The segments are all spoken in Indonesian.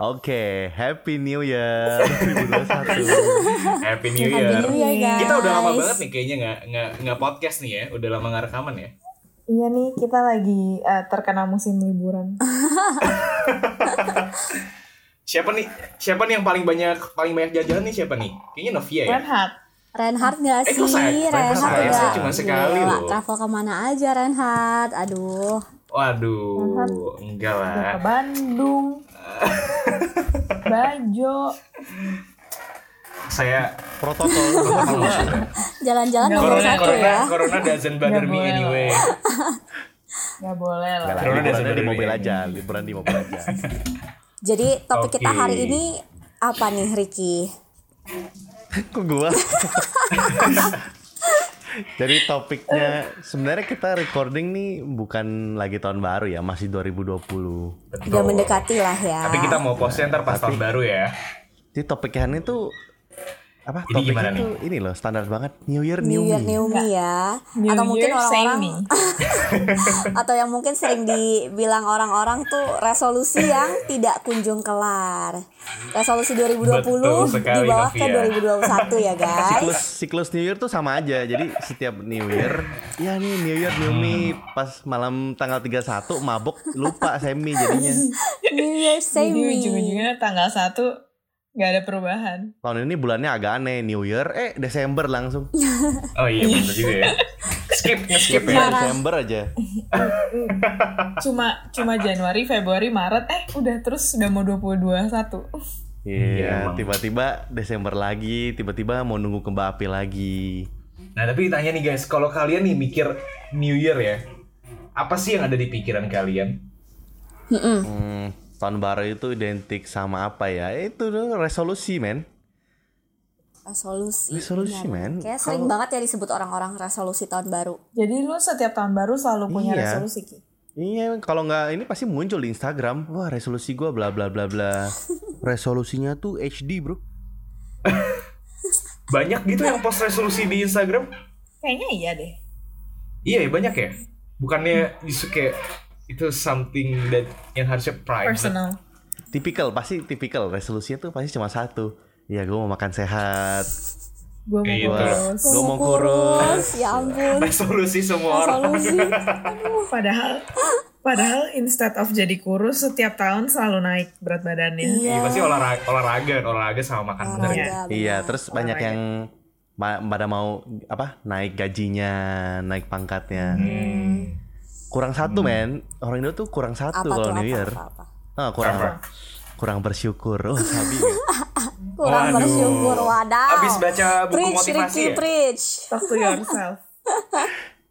Oke, Happy New Year 2021. Happy New Happy Year. New Iya. Year, iya, guys. Iya. Kita udah lama banget nih kayaknya nggak nggak nggak podcast nih ya, udah lama nggak rekaman ya. Iya nih, kita lagi eh, terkena musim liburan. Siapa nih? Siapa nih yang paling banyak paling banyak jajanan nih siapa nih? Kayaknya Novia ya. Renhat, Reinhardt gak Eh, sih? kok saya- Reinhardt saya- udah saya cuma sekali gila, loh. Travel kemana aja Reinhardt Aduh Waduh, enggak udah lah. ke Bandung, Bajo, Saya oh, Protokol. Jalan-jalan Nggak nomor Corona, satu corona, ya corona doesn't bother Nggak me boleh anyway. nggak boleh Nggak lah. lah, Corona liburannya dasar di mobil dunia. aja, liburan di mobil aja. Jadi topik kita Oke. hari ini apa nih Ricky? Kok gua? Jadi topiknya sebenarnya kita recording nih bukan lagi tahun baru ya, masih 2020. Udah mendekati lah ya Tapi kita mau postnya ntar pas tahun baru ya. Jadi topiknya itu apa? Jadi gimana Topiknya itu nih? ini loh standar banget New Year New Year Me. New Me ya New Atau mungkin Year, same orang-orang me. Atau yang mungkin sering dibilang orang-orang tuh Resolusi yang tidak kunjung kelar Resolusi Betul 2020 sekali, Dibawa ke Novia. 2021 ya guys siklus siklus New Year tuh sama aja. Jadi setiap New Year, ya nih New Year New Me pas malam tanggal 31 mabok lupa semi jadinya. New Year Same Jadi Me ujung-ujungnya tanggal 1 nggak ada perubahan. Tahun ini bulannya agak aneh New Year eh Desember langsung. Eh, Oh iya bener juga ya. Skip, skip ya. Parah. Desember aja. Cuma cuma Januari, Februari, Maret, eh udah terus udah mau 2021. Iya, emang. tiba-tiba Desember lagi, tiba-tiba mau nunggu kembang api lagi. Nah tapi tanya nih guys, kalau kalian nih mikir New Year ya, apa sih yang ada di pikiran kalian? Hmm, tahun baru itu identik sama apa ya? Itu tuh resolusi, men. resolusi Resolusi, men. kayak sering Kalau- banget ya disebut orang-orang resolusi tahun baru Jadi lu setiap tahun baru selalu punya Iya. resolusi Ki. Iya, kalau nggak ini pasti muncul di Instagram. Wah, resolusi gua bla bla bla bla. Resolusinya tuh HD, Bro. Banyak gitu yang post resolusi di Instagram? Kayaknya iya deh. Iya ya banyak ya. Bukannya justru kayak itu something that yang harusnya private. Personal. Tipikal, pasti tipikal. Resolusinya tuh pasti cuma satu. Ya, gua mau makan sehat. Iya, Gue mau Kayak gitu. kurus. Gua mau kurus. Iya. ya ampun Resolusi semua orang. resolusi Padahal padahal instead of jadi kurus setiap tahun selalu naik berat badannya. Iya iya pasti olahraga, olahraga, olahraga sama makan bener ya. olahraga Iya, benar. terus banyak yang ma- pada mau apa? Naik gajinya, naik pangkatnya. Hmm. Kurang Hmm. satu, men. Orang Indo tuh kurang satu apa tuh kalau apa, New Year. apa, apa. Ah, kurang Apa? kurang bersyukur. Oh, sabi. kurang Waduh. bersyukur wadaw Abis baca buku preach, motivasi Ricky, ya? preach Talk to yourself.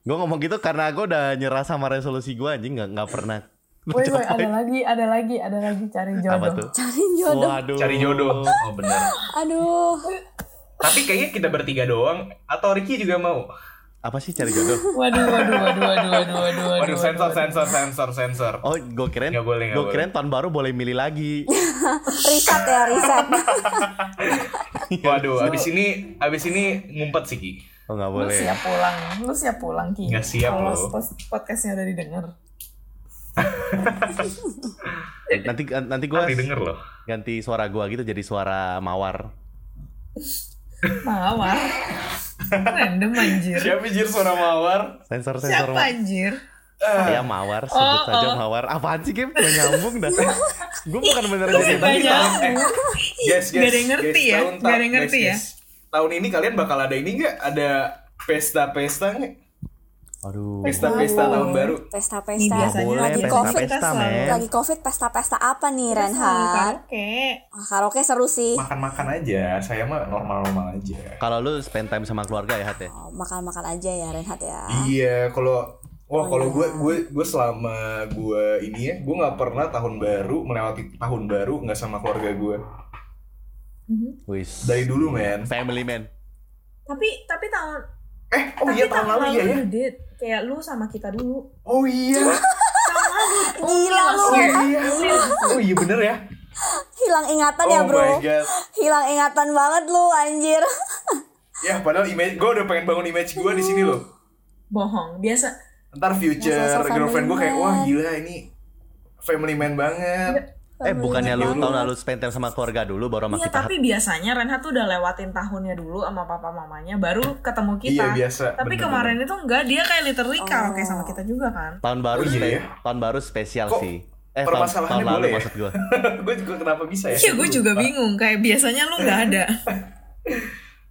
gue ngomong gitu karena gue udah nyerah sama resolusi gue anjing nggak nggak pernah. Woi woi ada lagi ada lagi ada lagi cari jodoh. Apa tuh? cari jodoh Waduh. Cari jodoh. Oh benar. aduh Tapi kayaknya kita bertiga doang atau Ricky juga mau? Apa sih cari jodoh? Waduh waduh waduh waduh waduh waduh waduh. Waduh sensor sensor sensor sensor. Oh, gue keren. Nggak boleh, nggak Gue keren tahun baru boleh milih lagi. riset ya riset Waduh, abis ini abis ini ngumpet sih Ki. Oh, nggak Lu boleh. siap pulang, lu siap pulang Ki. Nggak siap, Kalau lu. pos- podcastnya udah didengar. Nanti nanti gue Nanti denger loh. ganti suara gue gitu jadi suara mawar. Mawar. Random anjir. Siapa jir suara mawar? Sensor sensor. Siapa anjir? Ah. Saya mawar, sebut Oh, saja oh. mawar. Apaan sih, Kim? Gak nyambung dah. gue bukan bener jadi Banyak. Eh, guys, guys, Nggak ada yang ngerti ya? tahun- Nggak ada yang guys, ngerti ya? guys. Tahun ini kalian bakal ada ini nggak? Ada pesta-pesta nggak? Aduh. Pesta-pesta tahun baru. Ini pesta-pesta biasanya Iya, boleh, lagi pesta- covid pesta pesta-pesta, selalu. men. lagi covid pesta-pesta apa nih Iya, Renhat Oke. Wah, karaoke seru sih Makan-makan aja. Saya mah normal-normal aja. Kalau lu spend time sama keluarga ya, Hat ya? Oh, makan-makan aja ya Renhat ya Iya, kalau Wah, kalau gue gue gue selama gue ini ya, gue nggak pernah tahun baru melewati tahun baru nggak sama keluarga gue. Mhm. Wis. Dari dulu, men. Family man. Eh, Tapi tapi tahun Eh, oh iya tahun lalu iya ya. lu did. Kayak lu sama kita dulu. Oh iya. Gila lu Oh iya. Oh iya bener ya. hilang ingatan Oh ya bro my god. hilang ingatan banget lu anjir Ya padahal image gue udah pengen bangun image gue di sini loh. Bohong. Biasa Ntar future Masa-masa girlfriend gue kayak family wah man. gila ini family man banget. Eh bukannya lu tahun lalu spend time sama keluarga dulu baru sama Iya, kita. tapi biasanya Renhat tuh udah lewatin tahunnya dulu sama papa mamanya baru ketemu kita. Iya, biasa. Tapi Bener-bener. kemarin itu enggak, dia kayak Oh. literally karaoke sama kita juga kan. Tahun baru Oh, iya spe- ya? tahun baru spesial Kok sih. Eh tahun, Permasalahannya tahun lalu boleh ya? maksud gua. gue juga kenapa bisa ya? Iya, gue juga bingung kayak biasanya lu nggak ada.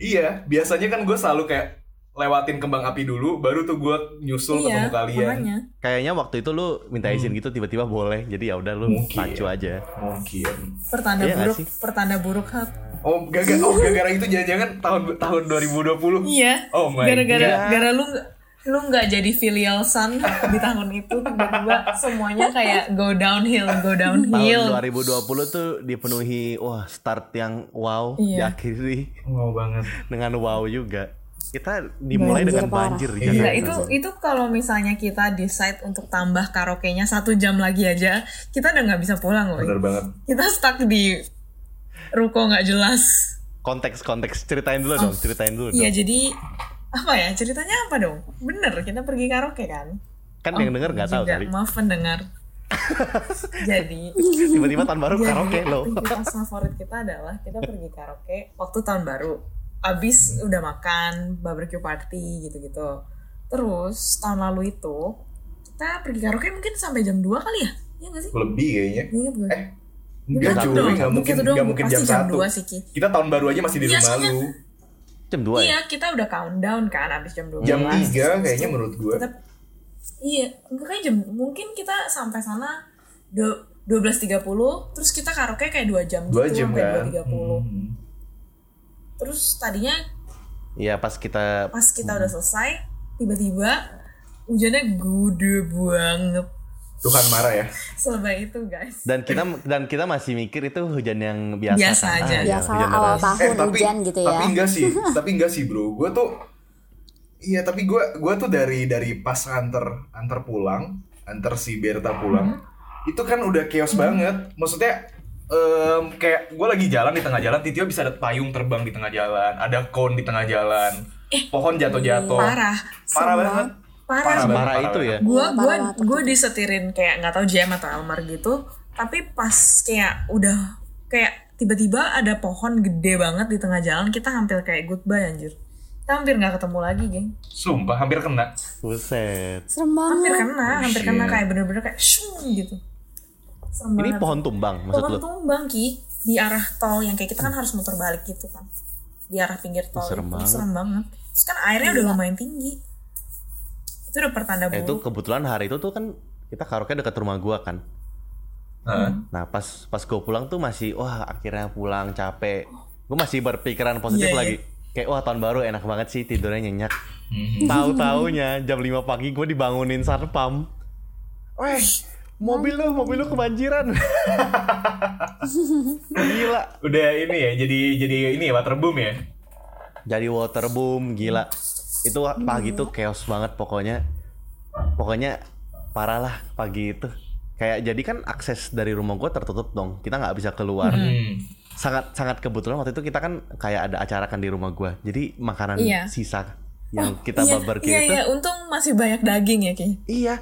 Iya, biasanya kan gue selalu kayak lewatin kembang api dulu, baru tuh gue nyusul iya, ketemu kalian. makanya. Kayaknya waktu itu lu minta izin gitu tiba-tiba boleh. Jadi ya udah lu Hmm. Mungkin. pacu aja. Mungkin. Pertanda Iya nggak buruk, sih? pertanda buruk hat. Oh, gagal. Oh, gara-gara itu jangan-jangan tahun tahun 2020. Iya. Oh my Gara-gara God. gara lu nggak- lu nggak jadi filial son di tahun itu tiba-tiba semuanya kayak go downhill, go Tahun downhill. 2020 tuh dipenuhi wah start yang wow Iya. diakhiri Wow banget. dengan wow juga. Kita dimulai Banjir dengan parah. banjir di Iya, Gila, Jakarta. Nah, itu itu kalau misalnya kita decide untuk tambah karaoke-nya satu jam lagi aja, kita udah nggak bisa pulang loh. Bener banget. Kita stuck di ruko nggak jelas. Konteks-konteks ceritain dulu dong, ceritain dulu Iya dong. jadi apa ya ceritanya apa dong? Bener kita pergi karaoke kan? Kan yang denger nggak tahu Juga, kali. Maaf pendengar. jadi Tiba-tiba tahun Iya, baru karaoke jadi lo. aktivitas favorit kita adalah kita pergi karaoke waktu tahun baru. Abis udah makan, barbecue party gitu-gitu. Terus tahun lalu itu kita pergi karaoke mungkin sampai jam 2 kali ya? Iya gak sih? Lebih kayaknya. Ingat gue. Eh, Enggak satu juga, dong, enggak satu mungkin, gitu dong. enggak mungkin jam, Pasti jam satu. dua sih, Ki. Kita tahun baru aja masih di Iya, rumah soalnya- lu. Jam 2 ya? iya, kita udah countdown kan abis jam 12. Jam 3 kayaknya menurut gue. Kita, iya, enggak kayak jam mungkin kita sampai sana dua- 12.30 terus kita karaoke kayak 2 jam Dua jam gitu sampai kan. 2.30. Hmm. Terus tadinya Iya pas kita pas kita Hmm. udah selesai tiba-tiba hujannya gede banget. Tuhan marah ya. Selebay itu, guys. dan kita dan kita masih mikir itu hujan yang biasa Biasa kan? aja. Ah, iya, Biasa hujan awal deras. tahun hujan gitu ya. Eh, Tapi enggak sih, tapi enggak sih bro. Gue tuh, iya tapi gue gue tuh dari dari pas antar antar pulang, antar si Berta pulang, Mm-hmm. itu kan udah chaos banget. Maksudnya em, kayak gue lagi jalan di tengah jalan, Titio bisa ada payung terbang di tengah jalan, ada kon di tengah jalan, Eh, pohon jatuh-jatuh, Parah. parah Semua- banget. Parah. Parah Semarah Parah itu ya. gue Iya, gue parah banget gue disetirin kayak nggak tahu jam atau almar gitu tapi pas kayak udah kayak tiba-tiba ada pohon gede banget di tengah jalan kita hampir kayak goodbye anjir kita hampir nggak ketemu lagi geng Sumpah hampir kena. Buset. Serem hampir Oh, banget. kena hampir kena kayak bener-bener kayak shung gitu serem Ini banget pohon tumbang maksud pohon lu? tumbang ki di arah tol yang kayak kita kan harus muter balik gitu kan di arah pinggir tol serem itu. banget. Iya. serem banget terus kan airnya udah lumayan tinggi itu udah pertanda Eh, itu buruk kebetulan hari itu tuh kan kita karaoke dekat rumah gua kan. Mm-hmm. Hah? Nah pas pas gue pulang tuh masih wah akhirnya pulang capek. Gue masih berpikiran positif Iya, iya. lagi. Kayak wah tahun baru enak banget sih tidurnya nyenyak. Mhm. Tahu taunya jam 5 pagi gue dibangunin satpam. Weh mobil lu mobil lu kebanjiran. gila. Udah ini ya, jadi jadi ini ya waterboom ya. Jadi waterboom gila. Itu pagi tuh chaos banget pokoknya. Pokoknya parah lah pagi itu. Kayak jadi kan akses dari rumah gue tertutup dong. Kita nggak bisa keluar. Mm-hmm. Hmm. sangat sangat kebetulan waktu itu kita kan kayak ada acara kan di rumah gua jadi makanan Iya. sisa yang kita iya, barbecue iya, itu iya, untung masih banyak daging ya ki iya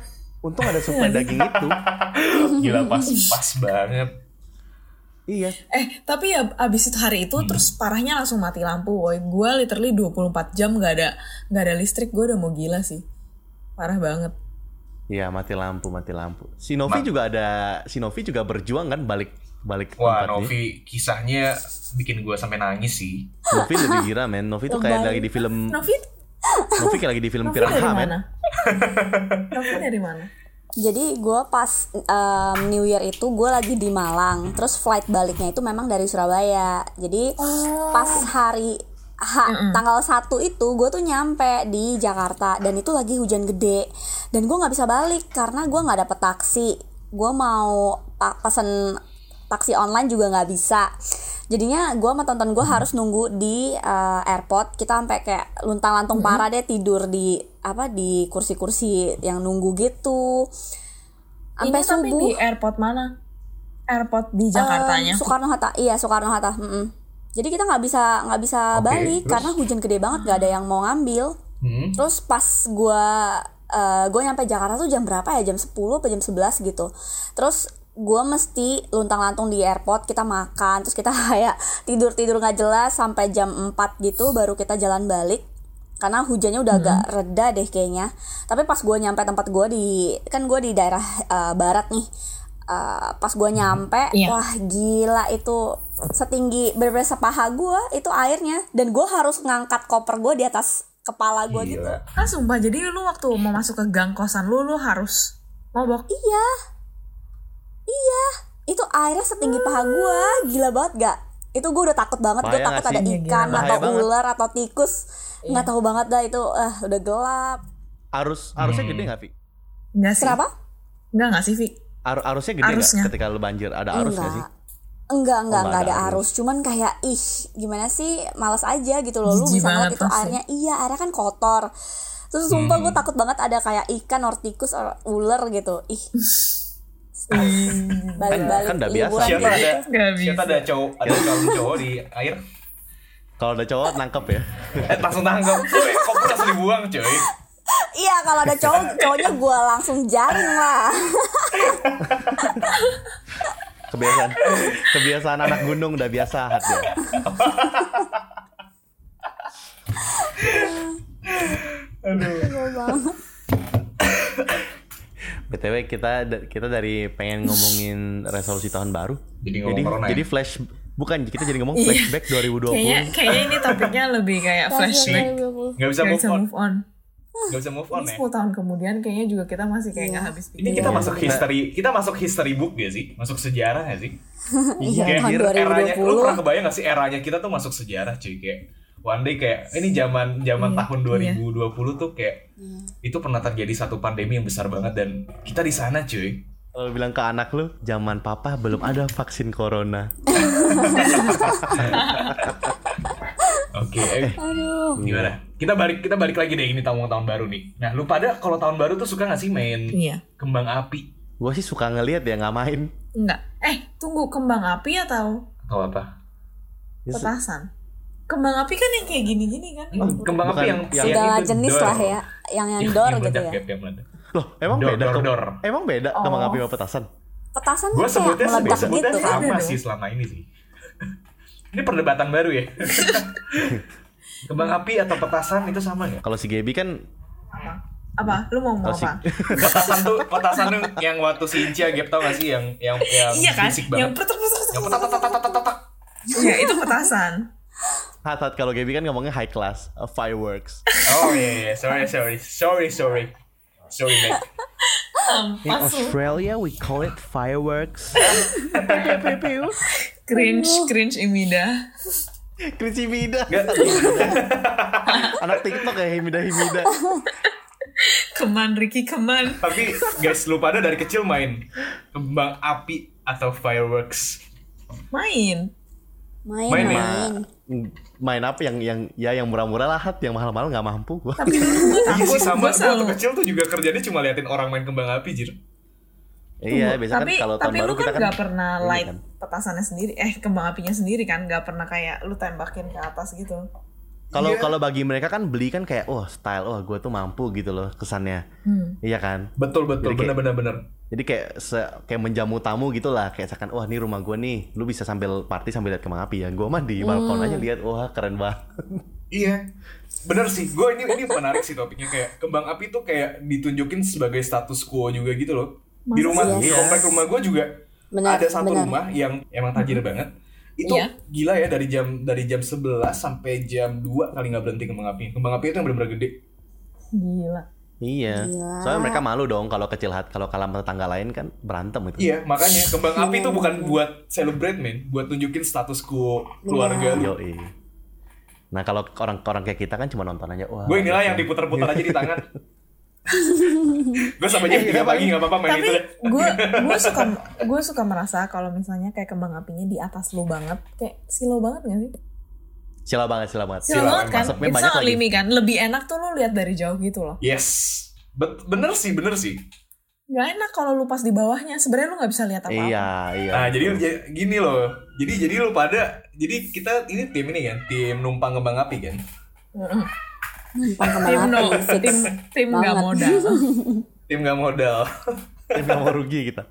untung ada suplai daging itu Hmm. Gila pas pas banget. iya Eh, tapi ya abis itu hari itu Hmm. terus parahnya langsung mati lampu, woi. Gue literally 24 jam nggak ada nggak ada listrik, gue udah mau gila sih. Parah banget. iya mati lampu mati lampu si Novi juga ada si Novi juga berjuang kan balik balik ke Wah, tempatnya Novi kisahnya bikin gue sampai nangis sih. Novi lebih gila men Novi tuh kayak lagi di film Novi, Novi kayak lagi di film Novi dari Piranha men mana? Novi dari mana? Jadi gue pas um, New Year itu gue lagi di Malang, terus flight baliknya itu memang dari Surabaya. Jadi pas hari ha- tanggal 1 itu gue tuh nyampe di Jakarta dan itu lagi hujan gede dan gue nggak bisa balik karena gue nggak dapet taksi. Gue mau pa- pesen taksi online juga nggak bisa jadinya gue sama tonton gue harus nunggu di eh, airport kita sampai kayak luntang lantung parah deh tidur di apa di kursi-kursi yang nunggu gitu sampai Ini tapi subuh di airport mana? Airport di Jakartanya. Soekarno Hatta iya Soekarno Hatta jadi kita nggak bisa nggak bisa Oke, balik terus? karena hujan gede banget nggak ada yang mau ngambil Hmm. Terus pas eh, gue gue nyampe Jakarta tuh jam berapa ya? Jam 10 apa jam 11 gitu. Terus gue mesti luntang-lantung di airport kita makan terus kita kayak tidur tidur nggak jelas sampai jam 4 gitu baru kita jalan balik karena hujannya udah agak reda deh kayaknya tapi pas gue nyampe tempat gue di kan gue di daerah eh, barat nih Eh, pas gue nyampe Iya. wah gila itu setinggi bener sepaha gue itu airnya dan gue harus ngangkat koper gue di atas kepala gue gitu Gila. Kan sumpah, jadi lu waktu mau masuk ke gang kosan lu, lu harus mabok. Iya. Iya. Itu airnya setinggi paha gua. Gila banget gak? Itu gua udah takut banget. Gua Bahaya takut nggak ada sih? Iya, ikan Bahaya Iya. atau banget. ular atau tikus. Nggak tahu banget dah itu. Eh, udah gelap. Arus arusnya gede Hmm. nggak Vi? Enggak sih. Kenapa? Enggak, enggak sih, Vi. Ar- arusnya gede Arusnya. nggak ketika lu banjir ada arus nggak sih? Oh, Enggak. Enggak, enggak, nggak enggak ada ada arus. Cuman kayak ih, gimana sih? Males aja gitu loh. Lu Jijik bisa ngeliat banget itu pasti. airnya. Iya, airnya kan kotor. Terus sumpah Hmm. gua takut banget ada kayak ikan or tikus or ular gitu. Ih. Balik-balik Iya. kan nggak biasa. liburan Siapa kayak ada gitu. Nggak siapa bisa. ada cowok ada cowok cowok di air? Kalau ada cowok nangkep ya. Eh langsung tanggap. Woi, kok gua langsung dibuang, coy. Iya kalau ada cowok cowoknya gue langsung jaring lah. Kebiasaan kebiasaan anak gunung udah biasa hat ya. BTW kita da- kita dari pengen ngomongin resolusi tahun baru. Jadi ngomong corona ya? jadi flash bukan kita jadi ngomong Iya. flashback 2020. Kayaknya, kayaknya ini topiknya lebih kayak flashback. Enggak bisa Nggak move bisa on. move on. Enggak bisa move on Ini ya. 10 tahun kemudian kayaknya juga kita masih kayak Iya. nggak habis pikir. Ini kita masuk history, kita masuk history book gak sih? Masuk sejarah gak sih? Iya Kayak tahun eranya, lu pernah 2020. kebayang gak sih eranya kita tuh masuk sejarah cuy kayak one day kayak ini zaman zaman Iya, tahun 2020 tuh kayak itu pernah terjadi satu pandemi yang besar banget dan kita di sana cuy. Kalau bilang ke anak lu, zaman papa belum ada vaksin corona. Oke, eh, Aduh. gimana? Kita balik kita balik lagi deh ini tahun tahun baru nih. Nah, lu pada kalau tahun baru tuh suka gak sih main Iya. kembang api Gue sih suka ngelihat ya nggak main. Enggak. Eh, tunggu kembang api atau atau apa? Ya, Iya se- petasan? Kembang api kan yang kayak gini-gini kan? Kembang api Bukan yang yang- Segala Iya, itu jenis door. lah ya, yang yang Yang- dor yang gitu meledak, ya. yang meledak. Loh, emang Dor, beda dor, ke- dor. Emang beda Oh. kembang api sama petasan. Petasan Gue kan kayak sebutnya meledak sebutnya gitu kan. sama sih selama ini sih. Ini perdebatan baru ya. Kembang api atau petasan itu sama nggak? Kalau si Gaby kan Apa? Lu mau ngomong Kasih. apa? Petasan tuh, petasan tuh yang waktu si Incia gap tau gak sih yang yang yang Iya kan? fisik banget. Yang petak Yang petak petak petak petak petak. Iya, itu petasan. hat hat kalau Gaby kan ngomongnya high class, uh, fireworks. Oh iya iya, sorry sorry sorry sorry sorry Mac. In Australia we call it fireworks. Cringe, cringe Imida. Kerinci Mida. Nggak. Anak TikTok ya Himida Himida. Keman Ricky, keman. Tapi guys lu pada dari kecil main kembang api atau fireworks. Main. Main, Main main. ya? Main apa yang yang ya yang murah-murah lah hat, yang mahal-mahal nggak mampu gua. Tapi dulu gue Iya takut. sih sama. Gue Gue waktu selalu kan. kecil tuh juga kerjanya cuma liatin orang main kembang api jir. iya, biasanya kan tapi, kalau tahun tapi baru lu kita kan kan nggak pernah ini light kan. petasannya sendiri eh kembang apinya sendiri kan nggak pernah kayak lu tembakin ke atas gitu Kalau Iya. kalau bagi mereka kan beli kan kayak wah style, wah gua tuh mampu gitu loh kesannya. Hmm. Iya kan? Betul betul Jadi kayak- bener bener bener. Jadi kayak se- kayak menjamu tamu gitu lah kayak seakan wah ini rumah gua nih, lu bisa sambil party sambil lihat kembang api ya. Gua mah Hmm. di balkon aja lihat wah keren banget. Iya. Bener sih, gue ini ini menarik sih topiknya kayak kembang api tuh kayak ditunjukin sebagai status quo juga gitu loh. di rumah Masa sih? di komplek rumah gue juga Benar, ada satu benar. rumah yang emang tajir banget. Itu Iya. gila ya dari jam dari jam 11 sampai jam 2 kali nggak berhenti kembang api. Kembang api itu yang bener-bener gede. gila Iya. Gila. Soalnya mereka malu dong kalau kecil hat kalau kalah sama tetangga lain kan berantem gitu. Iya, makanya kembang api itu bukan buat celebrate men, buat tunjukin status quo keluarga lu. Yoi. Nah kalau orang-orang kayak kita kan cuma nonton aja. Wah. Gue inilah yang diputar-putar aja di tangan. gue sampai jam 3 pagi gak apa-apa main tapi gitu? itu deh. gue gue suka gue suka merasa kalau misalnya kayak kembang apinya di atas lu banget kayak silau banget gak sih Sila banget, sila banget. silau banget kan Asapnya it's banyak not lagi. limi kan lebih enak tuh lu lihat dari jauh gitu loh Yes. Bet- bener sih, bener sih. nggak enak kalau lu pas di bawahnya sebenarnya lu nggak bisa lihat apa apa Iya, iya. Nah, jadi j- gini loh. Jadi jadi lu pada jadi kita ini tim ini kan, tim numpang kembang api kan. Numpang tim kemana no api, fix. tim tim nggak Banget. modal Tim gak modal. Tim nggak mau rugi kita.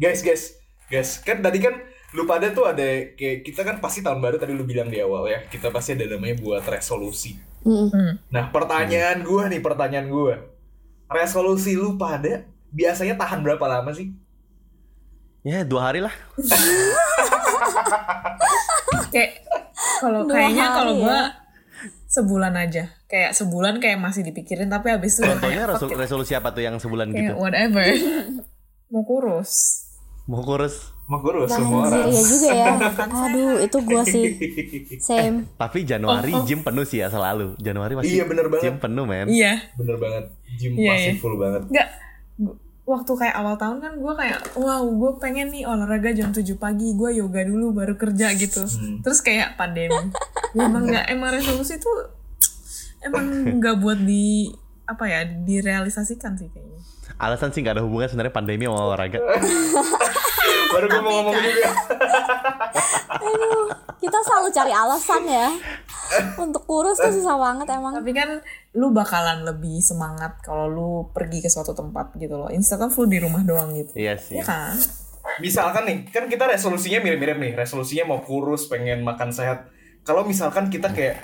guys guys guys kan tadi kan lu pada tuh ada kayak kita kan pasti tahun baru tadi lu bilang di awal ya kita pasti ada namanya buat resolusi Hmm. nah pertanyaan gua nih pertanyaan gua resolusi lu pada biasanya tahan berapa lama sih Ya dua hari lah. kayak kalau Dua kayaknya hari kalau ya. gua sebulan aja kayak sebulan kayak masih dipikirin tapi habis itu udah Contohnya kayak, resu- resolusi apa tuh yang sebulan kayak gitu? whatever mau kurus Mau kurus. mah gua udah semua Banjir orang ya juga ya. Aduh, itu gua sih same. Tapi Januari gym penuh sih ya selalu. Januari masih Iya, bener banget. gym penuh men. Oh, iya bener banget gym Iya, pasti iya. full banget nggak Gu- waktu kayak awal tahun kan gua kayak wow gue pengen nih olahraga jam 7 pagi gua yoga dulu baru kerja gitu Hmm. terus kayak pandemi emang nggak emang resolusi tuh emang nggak buat di apa ya direalisasikan sih kayaknya Alasan sih nggak ada hubungan sebenarnya pandemi sama olahraga. baru gua mau ngomong kan juga Aduh, kita selalu cari alasan ya. Untuk kurus tuh susah banget emang. Tapi kan lu bakalan lebih semangat kalau lu pergi ke suatu tempat gitu loh. Instead of lu di rumah doang gitu. Iya sih. Iya kan? misalkan nih kan kita resolusinya mirip-mirip nih resolusinya mau kurus pengen makan sehat kalau misalkan kita kayak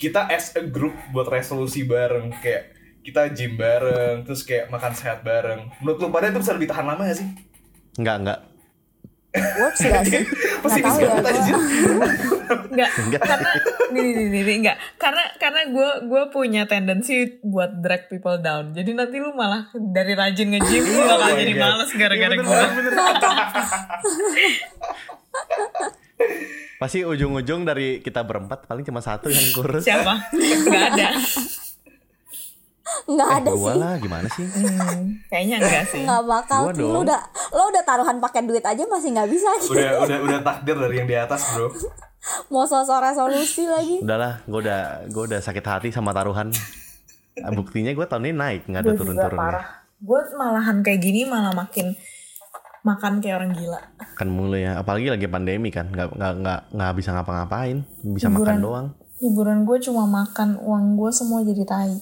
kita as a group buat resolusi bareng kayak kita gym bareng terus kayak makan sehat bareng menurut lu pada itu bisa lebih tahan lama gak sih Nggak nggak. Works gak sih? Gak pesimis tahu ya banget gua. anjir Enggak. karena nih nih nih, nih, enggak. Karena karena gue gue punya tendensi buat drag people down. Jadi nanti lu malah dari rajin nge-gym lu Oh bakal my jadi God. males gara-gara Iya, bener, gue. bener, bener. Pasti ujung-ujung dari kita berempat paling cuma satu yang kurus. Siapa? Enggak ada. Nggak Eh, ada gua sih. lah gimana sih? Hmm, kayaknya enggak sih. Nggak bakal. Gua Lu dong. udah lo udah taruhan pakai duit aja masih nggak bisa. Ki. udah udah udah takdir dari yang di atas bro Mau sosok resolusi lagi. Udahlah, gua udah gua udah sakit hati sama taruhan. Ah, Buktinya gua tahun ini naik, nggak ada ya. Gua juga turun-turunnya. parah. Gue malahan kayak gini malah makin makan kayak orang gila. Kan mulu ya, apalagi lagi pandemi kan, nggak nggak nggak nggak bisa ngapa-ngapain, bisa makan Hiburan. doang. Hiburan gue cuma makan, uang gue semua jadi tai.